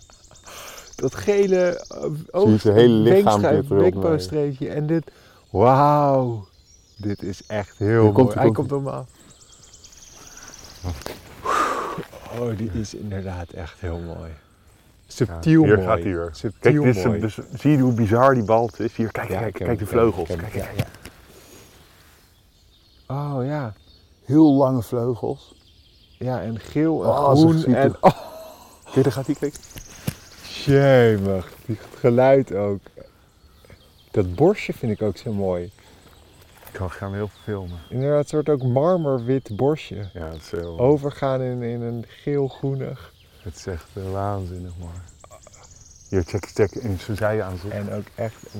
Speaker 2: Dat gele eh,
Speaker 1: je
Speaker 2: oog,
Speaker 1: het hele lichaam
Speaker 2: wenkschrijf,
Speaker 1: dit erop mee?
Speaker 2: wenkbrauwstreepje en dit. Wauw. Dit is echt heel
Speaker 1: Hier komt
Speaker 2: mooi.
Speaker 1: ie,
Speaker 2: Hij
Speaker 1: komt
Speaker 2: komt om me af. Oh, die is inderdaad echt heel mooi. Subtiel
Speaker 1: hier
Speaker 2: mooi.
Speaker 1: gaat hij weer.
Speaker 2: Subtiel
Speaker 1: kijk, dit is hem.
Speaker 2: mooi.
Speaker 1: dus zie je hoe bizar die bal is? Hier, kijk,
Speaker 2: Ja, ik
Speaker 1: kijk,
Speaker 2: ken
Speaker 1: kijk de
Speaker 2: hem,
Speaker 1: vleugels.
Speaker 2: ik ken
Speaker 1: Kijk,
Speaker 2: hem,
Speaker 1: kijk,
Speaker 2: ja, ja. Oh ja.
Speaker 1: Heel lange vleugels.
Speaker 2: Ja, en geel en
Speaker 1: Oh, zo
Speaker 2: groen.
Speaker 1: ziet
Speaker 2: En,
Speaker 1: het.
Speaker 2: oh,
Speaker 1: Kijk, daar gaat die klik.
Speaker 2: jemig. Die geluid ook. Dat borstje vind ik ook zo mooi.
Speaker 1: Ik kan gaan heel veel filmen.
Speaker 2: Inderdaad, een soort ook marmerwit borstje.
Speaker 1: Ja, het is, heel-
Speaker 2: Oh. Overgaan in, in een geel-groenig.
Speaker 1: het is echt eh, waanzinnig mooi. Hier, check, check. En zo zei je aan zoek.
Speaker 2: En ook echt een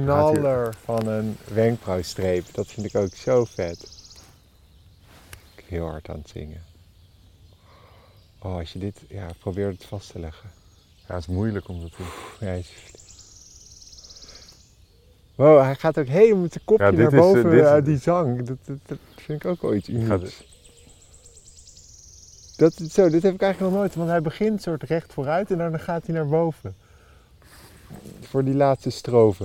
Speaker 1: Oh, gaat hier.
Speaker 2: knaller van een wenkbrauwstreep. Dat vind ik ook zo vet. Ik heel hard aan het zingen. Oh, als je dit... Ja, probeer het vast te leggen.
Speaker 1: Ja, het is moeilijk om dat te doen.
Speaker 2: Ja, hij is- Wow, hij gaat ook helemaal met zijn kopje
Speaker 1: Ja, dit
Speaker 2: naar
Speaker 1: is, eh,
Speaker 2: boven,
Speaker 1: dit is-
Speaker 2: eh, die zang. Dat, dat, dat vind ik ook wel iets unieks. Dat, zo, dit heb ik eigenlijk nog nooit, want hij begint soort recht vooruit en dan gaat hij naar boven. Voor die laatste strofe.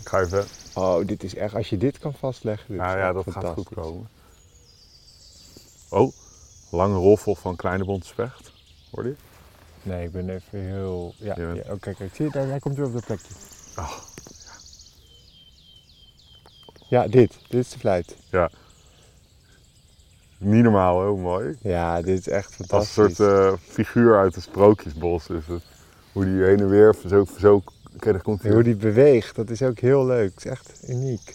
Speaker 1: Ik ga even...
Speaker 2: Oh, dit is echt, als je dit kan vastleggen, dit
Speaker 1: Nou
Speaker 2: is
Speaker 1: ja,
Speaker 2: echt
Speaker 1: dat gaat goed
Speaker 2: fantastisch.
Speaker 1: komen. Oh, lange roffel van Kleine Bondspecht. Hoor je?
Speaker 2: Nee, ik ben even heel... Ja,
Speaker 1: Je
Speaker 2: ja,
Speaker 1: bent-
Speaker 2: oh, kijk, kijk, zie je, daar, hij komt weer op dat plekje.
Speaker 1: Ah.
Speaker 2: Ja, dit. Dit is de fluit.
Speaker 1: Ja. Niet normaal, heel mooi.
Speaker 2: Ja, dit is echt
Speaker 1: Als een
Speaker 2: fantastisch.
Speaker 1: soort eh, figuur uit een sprookjesbos is het. Hoe die heen en weer zo... zo Kijk, daar komt
Speaker 2: En hoe
Speaker 1: hij.
Speaker 2: die beweegt, dat is ook heel leuk. Het is echt uniek.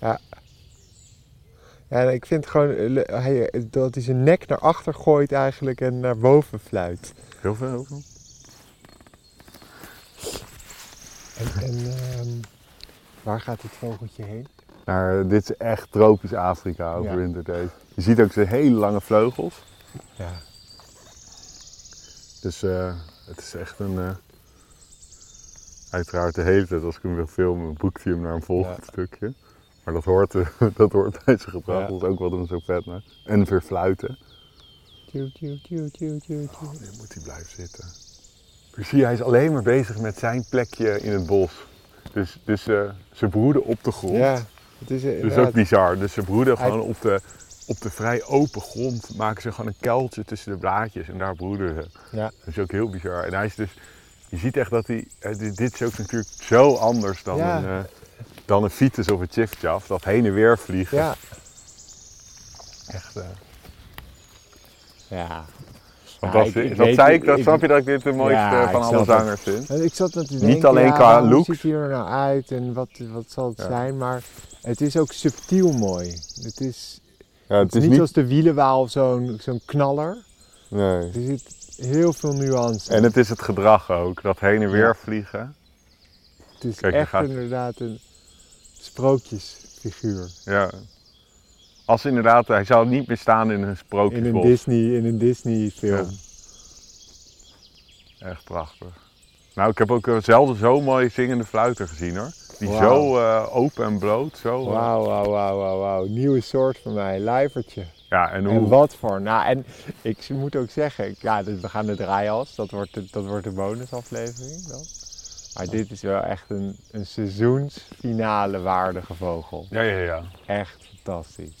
Speaker 2: Ja. Ja, en ik vind gewoon eh, le- hij, eh, dat hij zijn nek naar achter gooit eigenlijk en naar boven fluit.
Speaker 1: Heel veel, heel veel.
Speaker 2: En, en ehm, waar gaat dit vogeltje heen?
Speaker 1: Naar, eh, dit is echt tropisch Afrika overwinterd deze. Je ziet ook zijn hele lange vleugels.
Speaker 2: Ja.
Speaker 1: Dus eh, het is echt een... eh, uiteraard de hele tijd als ik hem wil filmen, boekt hij hem naar een volgend stukje. Maar dat hoort, eh, dat hoort bij zijn gedrag.
Speaker 2: Ja.
Speaker 1: Dat is ook wat hem zo vet maakt. En weer fluiten.
Speaker 2: Tjoe, tjoe, tjoe, tjoe, tjoe, tjoe.
Speaker 1: Nu moet hij blijven zitten. Dus zie je, hij is alleen maar bezig met zijn plekje in het bos. Dus, dus eh, ze broeden op de grond.
Speaker 2: Ja, het is
Speaker 1: Dat is
Speaker 2: inderdaad-
Speaker 1: ook bizar. Dus ze broeden
Speaker 2: Hij-
Speaker 1: gewoon op de, op de vrij open grond. Maken ze gewoon een kuiltje tussen de blaadjes en daar broeden ze.
Speaker 2: Ja,
Speaker 1: Dat is ook heel bizar. En hij is dus, je ziet echt dat hij, eh, dit dit is ook natuurlijk zo anders dan,
Speaker 2: Ja.
Speaker 1: een, eh dan een fiets of een chifchaf. Dat heen en weer vliegen.
Speaker 2: ja.
Speaker 1: Echt, eh,
Speaker 2: Ja.
Speaker 1: fantastisch.
Speaker 2: Ja, ik- ik
Speaker 1: dat
Speaker 2: weet-
Speaker 1: zei ik, dat
Speaker 2: ik-
Speaker 1: snap je dat ik dit de mooiste
Speaker 2: Ja, ik
Speaker 1: van alle
Speaker 2: snap het.
Speaker 1: zangers vind.
Speaker 2: En ik zat net te denken,
Speaker 1: Niet alleen
Speaker 2: ja,
Speaker 1: qua
Speaker 2: hoe
Speaker 1: looks.
Speaker 2: ziet hij er nou uit en wat, wat zal het
Speaker 1: Ja.
Speaker 2: zijn, maar het is ook subtiel mooi. Het is,
Speaker 1: Ja,
Speaker 2: het is niet, als de wielenwaal of zo'n zo'n knaller.
Speaker 1: nee.
Speaker 2: Er zit heel veel nuance.
Speaker 1: En het is het gedrag ook, dat heen en weer
Speaker 2: Ja.
Speaker 1: vliegen.
Speaker 2: het is
Speaker 1: kijk, je
Speaker 2: echt
Speaker 1: gaat-
Speaker 2: inderdaad een sprookjesfiguur.
Speaker 1: Ja. Als inderdaad, hij zou niet bestaan in een
Speaker 2: In een
Speaker 1: sprookjesbos.
Speaker 2: Disney, in een Disney film.
Speaker 1: Echt prachtig. Nou, ik heb ook eh, zelden zo'n mooie zingende fluiter gezien hoor. Die
Speaker 2: Wauw.
Speaker 1: zo eh, open en bloot. Zo, eh,
Speaker 2: Wauw, wauw, wauw, wauw, wauw. Nieuwe soort van mij, lijvertje.
Speaker 1: Ja, en hoe.
Speaker 2: En wat voor. Nou, en ik moet ook zeggen, ik- ja, dit- we gaan het draaias, dat wordt de, dat wordt de bonusaflevering dan. Maar dit is wel echt een, een seizoensfinale waardige vogel.
Speaker 1: Ja, ja, ja.
Speaker 2: Echt fantastisch.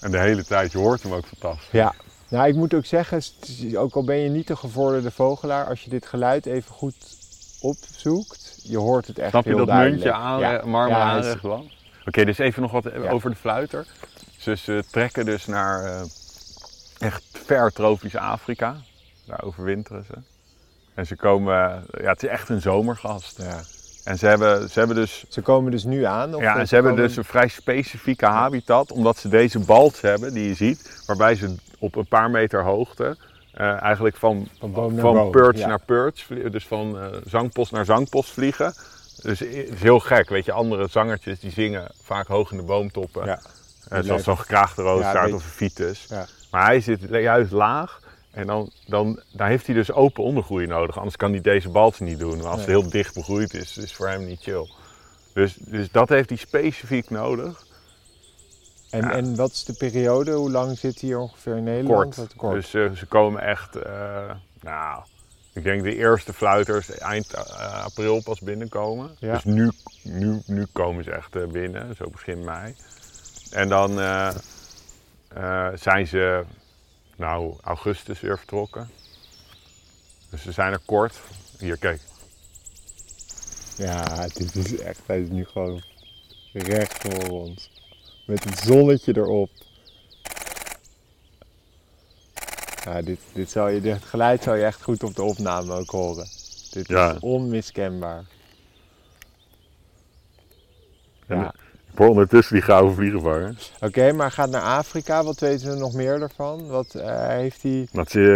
Speaker 1: En de hele tijd, je hoort hem ook fantastisch.
Speaker 2: Ja. Nou, ik moet ook zeggen, het is- ook al ben je niet een gevorderde vogelaar, als je dit geluid even goed opzoekt, je hoort het echt
Speaker 1: Snap je
Speaker 2: heel
Speaker 1: dat
Speaker 2: duidelijk.
Speaker 1: muntje aan,
Speaker 2: Ja.
Speaker 1: marmer
Speaker 2: Ja, hij is-
Speaker 1: aanrecht wel? Oké, dus even nog wat eh,
Speaker 2: Ja.
Speaker 1: over de fluiter. Ze, ze trekken dus naar eh, echt ver tropisch Afrika. Daar overwinteren ze. En ze komen, eh, ja, het is echt een zomergast.
Speaker 2: Ja.
Speaker 1: En ze hebben, ze hebben dus
Speaker 2: Ze komen dus nu aan? Of
Speaker 1: Ja, en ze hebben
Speaker 2: komen-
Speaker 1: dus een vrij specifieke habitat, omdat ze deze balts hebben die je ziet, waarbij ze op een paar meter hoogte eh, eigenlijk van,
Speaker 2: Van boom naar boom,
Speaker 1: perch
Speaker 2: ja.
Speaker 1: naar perch, vlie- dus van eh, zangpost naar zangpost vliegen. Dus i- het is heel gek, weet je, andere zangertjes die zingen vaak hoog in de boomtoppen.
Speaker 2: Ja.
Speaker 1: Eh, zoals
Speaker 2: lijkt-
Speaker 1: zo'n gekraagde roodstaart
Speaker 2: beetje-
Speaker 1: of een fietus.
Speaker 2: Ja.
Speaker 1: Maar hij zit juist laag en dan, dan, dan heeft hij dus open ondergroei nodig. Anders kan hij deze balts niet doen. Maar als het
Speaker 2: Nee.
Speaker 1: heel dicht begroeid is, is voor hem niet chill. Dus, dus dat heeft hij specifiek nodig.
Speaker 2: En, en wat is de periode? Hoe lang zit hij ongeveer in Nederland?
Speaker 1: Kort.
Speaker 2: Dat- Kort.
Speaker 1: Dus eh, ze komen echt, eh, nou, ik denk de eerste fluiters eind eh, april pas binnenkomen.
Speaker 2: Ja.
Speaker 1: Dus nu, nu, nu komen ze echt eh, binnen, zo begin mei. En dan eh, eh, zijn ze, nou, augustus weer vertrokken. Dus ze zijn er kort. Hier, kijk.
Speaker 2: Ja, dit is echt, hij is nu gewoon recht voor ons. Met het zonnetje erop. Ja, dit, dit, zal je, dit geluid zou je echt goed op de opname ook horen. Dit
Speaker 1: Ja.
Speaker 2: is onmiskenbaar.
Speaker 1: En
Speaker 2: Ja.
Speaker 1: Voor ondertussen die gouden vliegenvanger.
Speaker 2: Oké, maar gaat naar Afrika. Wat weten we nog meer ervan? Wat eh, heeft hij...
Speaker 1: Dat je,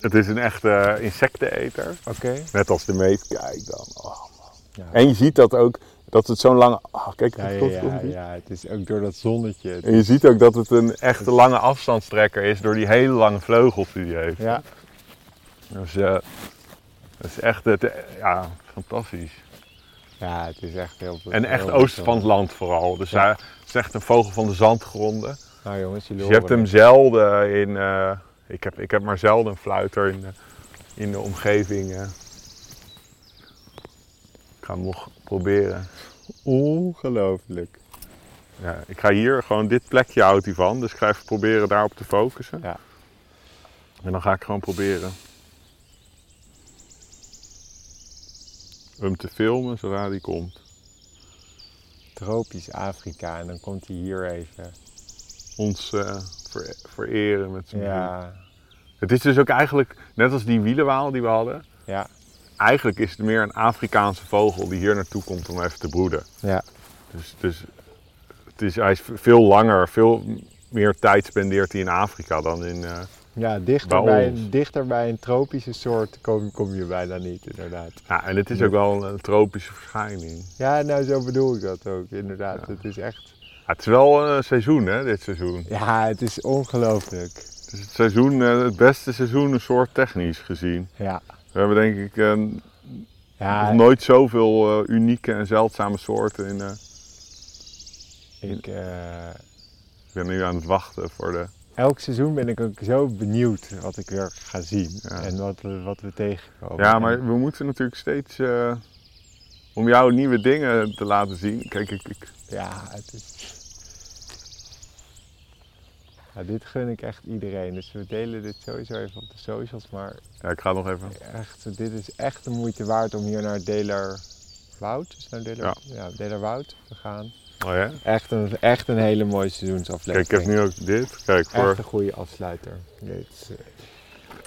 Speaker 1: het is een echte eh, insecteneter.
Speaker 2: Oké.
Speaker 1: Net als de meet. Kijk dan. Oh, man.
Speaker 2: Ja.
Speaker 1: En je ziet dat ook, dat het zo'n lange... ah, kijk,
Speaker 2: Ja,
Speaker 1: het
Speaker 2: ja,
Speaker 1: komt
Speaker 2: ja,
Speaker 1: om die-
Speaker 2: ja, het is ook door dat zonnetje.
Speaker 1: En je ziet ook dat het een echte
Speaker 2: Dus-
Speaker 1: lange afstandstrekker is door die hele lange vleugels die hij heeft.
Speaker 2: Ja,
Speaker 1: Dus eh dat is echt het, eh, ja, fantastisch.
Speaker 2: ja het is echt heel...
Speaker 1: En echt
Speaker 2: heel
Speaker 1: oosten van het land vooral. Dus hij is echt een vogel van de zandgronden.
Speaker 2: Nou jongens, jullie
Speaker 1: Dus je hebt
Speaker 2: horen
Speaker 1: hem zelden in. eh, ik, heb, ik heb maar zelden een fluiter in de, in de omgeving. eh. Ik ga hem nog proberen.
Speaker 2: het. Ongelooflijk.
Speaker 1: Ja, ik ga hier gewoon dit plekje houdt hij van. Dus ik ga even proberen daarop te focussen.
Speaker 2: Ja.
Speaker 1: En dan ga ik gewoon proberen. Hem te filmen zodra die komt.
Speaker 2: Tropisch Afrika. En dan komt hij hier even.
Speaker 1: Ons eh, ver- vereren met zijn muziek.
Speaker 2: Ja,
Speaker 1: Het is dus ook eigenlijk, net als die wielenwaal die we hadden.
Speaker 2: ja,
Speaker 1: Eigenlijk is het meer een Afrikaanse vogel die hier naartoe komt om even te broeden.
Speaker 2: ja.
Speaker 1: Dus, dus het is, hij is veel langer, veel meer tijd spendeert hij in Afrika dan in... eh,
Speaker 2: Ja, dichter
Speaker 1: Bij
Speaker 2: bij,
Speaker 1: ons.
Speaker 2: een, dichter bij een tropische soort kom, kom je bijna niet, inderdaad.
Speaker 1: ja, en het is ook wel een tropische verschijning.
Speaker 2: Ja, nou zo bedoel ik dat ook, inderdaad. Het is echt...
Speaker 1: Ja, het is wel een seizoen, hè, dit seizoen.
Speaker 2: Ja, het is ongelooflijk.
Speaker 1: Het is het, seizoen, eh, het beste seizoen, een soort technisch gezien.
Speaker 2: Ja.
Speaker 1: We hebben denk ik eh, nog
Speaker 2: Ja,
Speaker 1: nooit zoveel eh, unieke en zeldzame soorten. In, eh,
Speaker 2: ik, eh,
Speaker 1: ik ben nu aan het wachten voor de...
Speaker 2: elk seizoen ben ik ook zo benieuwd wat ik weer ga zien
Speaker 1: Ja.
Speaker 2: en wat, we- wat we tegenkomen.
Speaker 1: Ja, maar we moeten natuurlijk steeds... eh, om jou nieuwe dingen te laten zien. Kijk, ik, ik,
Speaker 2: Ja, het is... Ja, dit gun ik echt iedereen, dus we delen dit sowieso even op de socials, maar
Speaker 1: ja, ik ga nog even...
Speaker 2: echt, dit is echt de moeite waard om hier naar Delerwoud, is het nou Deler, ja.
Speaker 1: Ja.
Speaker 2: Delerwoud te gaan.
Speaker 1: Oh ja?
Speaker 2: Echt een, echt een hele mooie seizoensaflevering.
Speaker 1: Kijk, ik heb nu ook dit. Kijk, voor...
Speaker 2: Echt een goede afsluiter. Dit is, eh,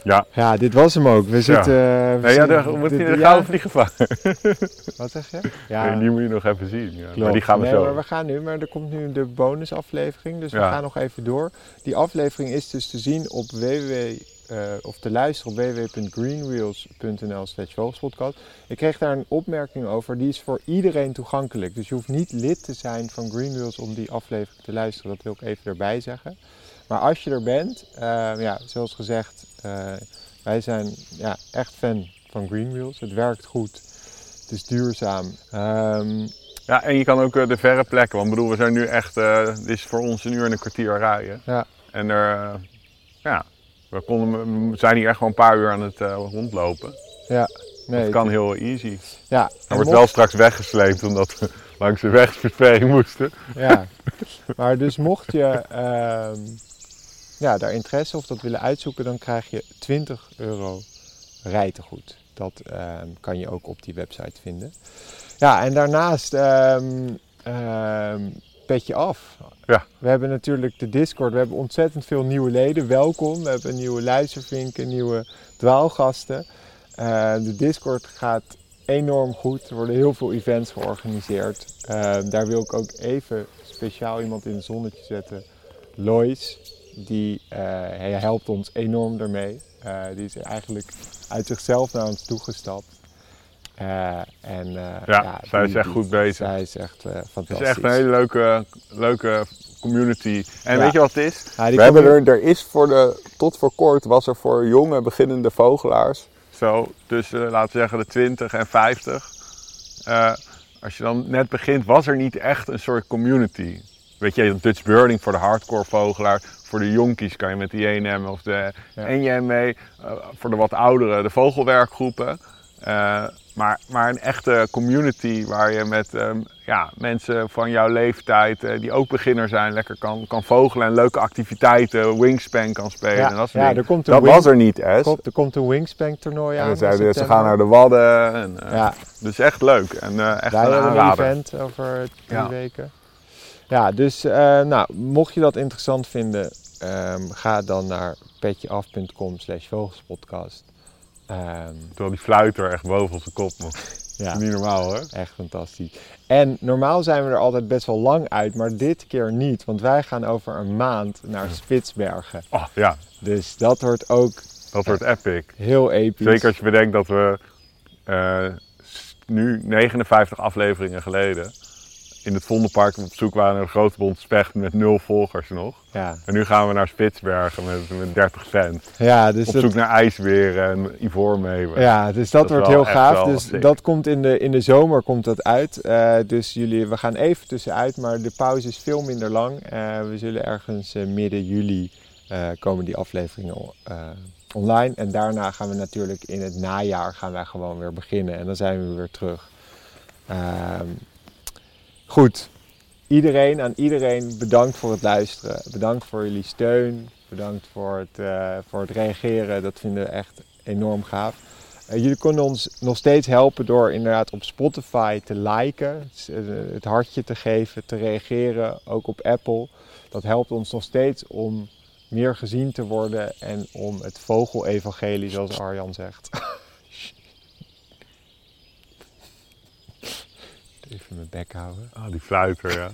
Speaker 1: Ja.
Speaker 2: ja, dit was hem ook. We zitten... eh, we
Speaker 1: Nee, ja,
Speaker 2: zien-
Speaker 1: daar moet je
Speaker 2: dit-
Speaker 1: de
Speaker 2: ja,
Speaker 1: gouden vliegen vangen.
Speaker 2: Wat zeg je? Ja,
Speaker 1: Die moet je nog even zien. Ja. Maar
Speaker 2: klopt.
Speaker 1: die gaan we
Speaker 2: nee,
Speaker 1: zo.
Speaker 2: Maar we gaan nu, maar er komt nu de bonusaflevering. Dus we
Speaker 1: Ja.
Speaker 2: gaan nog even door. Die aflevering is dus te zien op www... eh, of te luisteren op www.greenwheels.nl slash vogelspodcast. Ik kreeg daar een opmerking over. Die is voor iedereen toegankelijk. Dus je hoeft niet lid te zijn van Greenwheels om die aflevering te luisteren. Dat wil ik even erbij zeggen. Maar als je er bent, eh, ja, zoals gezegd, eh, wij zijn ja, echt fan van Greenwheels. Het werkt goed. Het is duurzaam. Ehm,
Speaker 1: Ja, en je kan ook eh, de verre plekken. Want ik bedoel, we zijn nu echt. eh, dit is voor ons een uur en een kwartier rijden.
Speaker 2: Ja.
Speaker 1: En er. eh, ja. We, konden, we zijn hier echt gewoon een paar uur aan het eh, rondlopen.
Speaker 2: Ja, nee.
Speaker 1: dat kan heel easy.
Speaker 2: Ja, en
Speaker 1: Dan wordt wel
Speaker 2: mocht-
Speaker 1: straks weggesleept omdat we langs de wegsversperring moesten.
Speaker 2: Ja. Maar dus mocht je ehm, ja, daar interesse of dat willen uitzoeken, dan krijg je 20 euro rijtegoed. Dat ehm, kan je ook op die website vinden. Ja, en daarnaast ehm ehm, pet je af.
Speaker 1: Ja.
Speaker 2: We hebben natuurlijk de Discord. We hebben ontzettend veel nieuwe leden. Welkom. We hebben een nieuwe luistervinken, nieuwe dwaalgasten. Eh, de Discord gaat enorm goed. Er worden heel veel events georganiseerd. Eh, daar wil ik ook even speciaal iemand in het zonnetje zetten. Lois, die eh, hij helpt ons enorm daarmee. Eh, die is eigenlijk uit zichzelf naar ons toegestapt. Eh, en, eh,
Speaker 1: Ja, zij
Speaker 2: die-
Speaker 1: is echt
Speaker 2: die-
Speaker 1: goed bezig.
Speaker 2: Zij is echt eh,
Speaker 1: Het
Speaker 2: fantastisch.
Speaker 1: is echt een hele leuke, leuke community. En
Speaker 2: Ja.
Speaker 1: weet je wat het is?
Speaker 2: Ja, die
Speaker 1: We hebben
Speaker 2: commu-
Speaker 1: er, er is voor de, tot voor kort was er voor jonge beginnende vogelaars, zo tussen laten we zeggen de 20 en 50. eh, als je dan net begint, was er niet echt een soort community. Weet je, een Dutch Birding voor de hardcore vogelaar. Voor de jonkies kan je met de JNM of de
Speaker 2: Ja.
Speaker 1: NJM mee. eh, voor de wat oudere, de vogelwerkgroepen. Eh, maar, maar een echte community waar je met eh, ja, mensen van jouw leeftijd, eh, die ook beginner zijn, lekker kan, kan vogelen en leuke activiteiten, wingspan kan spelen.
Speaker 2: Ja,
Speaker 1: en dat soort
Speaker 2: ja,
Speaker 1: dingen.
Speaker 2: er komt een
Speaker 1: dat
Speaker 2: wing-
Speaker 1: was er niet, hè?
Speaker 2: Komt- er komt een Wingspan toernooi aan.
Speaker 1: En
Speaker 2: in
Speaker 1: ze, zeiden, ze
Speaker 2: september.
Speaker 1: gaan naar de Wadden. En, eh,
Speaker 2: Ja,
Speaker 1: Dus echt leuk en eh, echt
Speaker 2: wij
Speaker 1: een
Speaker 2: hebben een
Speaker 1: aanrader.
Speaker 2: event over drie
Speaker 1: Ja.
Speaker 2: weken. Ja, dus eh, nou, mocht je dat interessant vinden, ehm, ga dan naar petjeaf.com slash vogelspodcast. Ehm,
Speaker 1: Terwijl die fluiter echt boven onze kop nog.
Speaker 2: ja,
Speaker 1: Niet normaal hoor.
Speaker 2: echt fantastisch. En normaal zijn we er altijd best wel lang uit, maar dit keer niet. Want wij gaan over een maand naar Spitsbergen.
Speaker 1: Oh, ja,
Speaker 2: Dus dat wordt ook
Speaker 1: dat wordt epic.
Speaker 2: heel episch.
Speaker 1: Zeker als je bedenkt dat we eh, s- nu 59 afleveringen geleden in het Vondelpark op zoek waren naar de grote bond specht met nul volgers nog.
Speaker 2: Ja,
Speaker 1: En nu gaan we naar Spitsbergen met, met 30 cent.
Speaker 2: ja dus
Speaker 1: Op
Speaker 2: dat,
Speaker 1: zoek naar ijsberen en ivoormeeuwen.
Speaker 2: Ja, dus
Speaker 1: Dat
Speaker 2: dat,
Speaker 1: is
Speaker 2: wordt
Speaker 1: wel
Speaker 2: heel
Speaker 1: echt
Speaker 2: gaaf.
Speaker 1: wel
Speaker 2: Dus
Speaker 1: sick.
Speaker 2: dat komt in de, in de zomer komt dat uit. Eh, dus jullie, we gaan even tussenuit, maar de pauze is veel minder lang. Eh, we zullen ergens eh, midden juli eh, komen die afleveringen on- eh, online. En daarna gaan we natuurlijk in het najaar gaan wij gewoon weer beginnen. En dan zijn we weer terug. Ehm, goed. Iedereen, aan iedereen bedankt voor het luisteren. Bedankt voor jullie steun. Bedankt voor het, eh, voor het reageren. Dat vinden we echt enorm gaaf. Eh, jullie kunnen ons nog steeds helpen door inderdaad op Spotify te liken, s- eh, het hartje te geven, te reageren, ook op Apple. Dat helpt ons nog steeds om meer gezien te worden en om het vogelevangelie, zoals Arjan zegt. Even mijn bek houden.
Speaker 1: Ah, die fluiter, ja.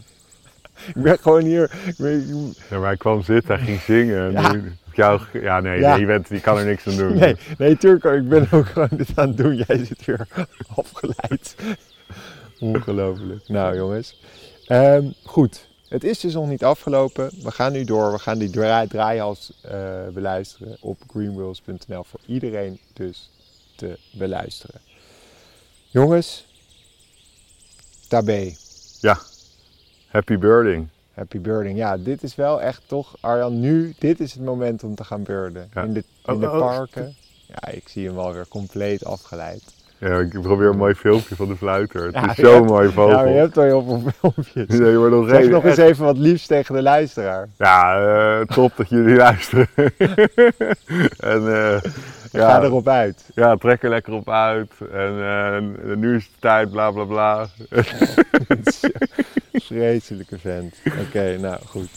Speaker 2: Ik ben gewoon hier. ik ben-
Speaker 1: ja. Maar hij kwam zitten, hij ging zingen. En
Speaker 2: Ja.
Speaker 1: nu heb jou ge- ja, nee,
Speaker 2: Ja.
Speaker 1: nee, je bent, die kan er niks aan doen.
Speaker 2: Nee, nee, Turco, ik ben ook gewoon dit aan het doen. Jij zit weer afgeleid. Ongelooflijk. Nou, jongens. Ehm, goed. Het is dus nog niet afgelopen. We gaan nu door. We gaan die draai draaihals eh, beluisteren op greenwheels.nl. Voor iedereen dus te beluisteren. Jongens, tabé.
Speaker 1: Ja, happy birding.
Speaker 2: Happy birding. Ja, dit is wel echt toch, Arjan, nu, dit is het moment om te gaan birden.
Speaker 1: Ja.
Speaker 2: In de, in
Speaker 1: Oh,
Speaker 2: de
Speaker 1: oh,
Speaker 2: parken. Ja, ik zie hem alweer compleet afgeleid.
Speaker 1: Ja, ik probeer een mooi filmpje van de fluiter. Het
Speaker 2: Ja,
Speaker 1: is
Speaker 2: je
Speaker 1: zo'n
Speaker 2: hebt-
Speaker 1: mooi vogel.
Speaker 2: Ja, maar Nou, je hebt al heel veel filmpjes.
Speaker 1: Nee, maar dat
Speaker 2: Zeg
Speaker 1: reden-
Speaker 2: nog eens even wat liefs tegen de luisteraar.
Speaker 1: Ja, eh, top dat jullie luisteren. en eh, ja,
Speaker 2: Ga erop uit.
Speaker 1: ja, trek er lekker op uit. En eh, nu is het tijd, bla bla bla.
Speaker 2: Vreselijke vent. Oké, nou goed.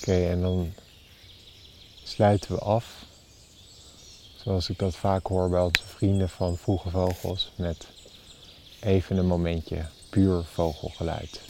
Speaker 2: Oké, en dan sluiten we af. Zoals ik dat vaak hoor bij onze vrienden van Vroege Vogels. Met even een momentje puur vogelgeluid.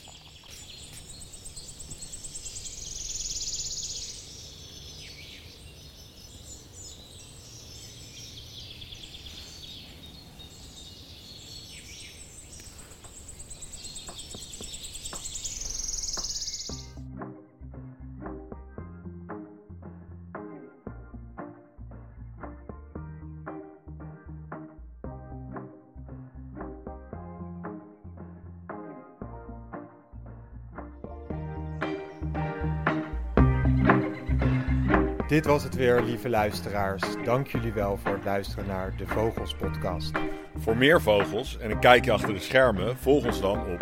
Speaker 2: Dit was het weer, lieve luisteraars. Dank jullie wel voor het luisteren naar de Vogels Podcast.
Speaker 1: Voor meer vogels en een kijkje achter de schermen, volg ons dan op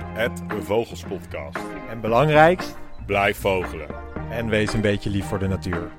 Speaker 1: de Vogelspodcast.
Speaker 2: En belangrijkst,
Speaker 1: Blijf vogelen.
Speaker 2: en wees een beetje lief voor de natuur.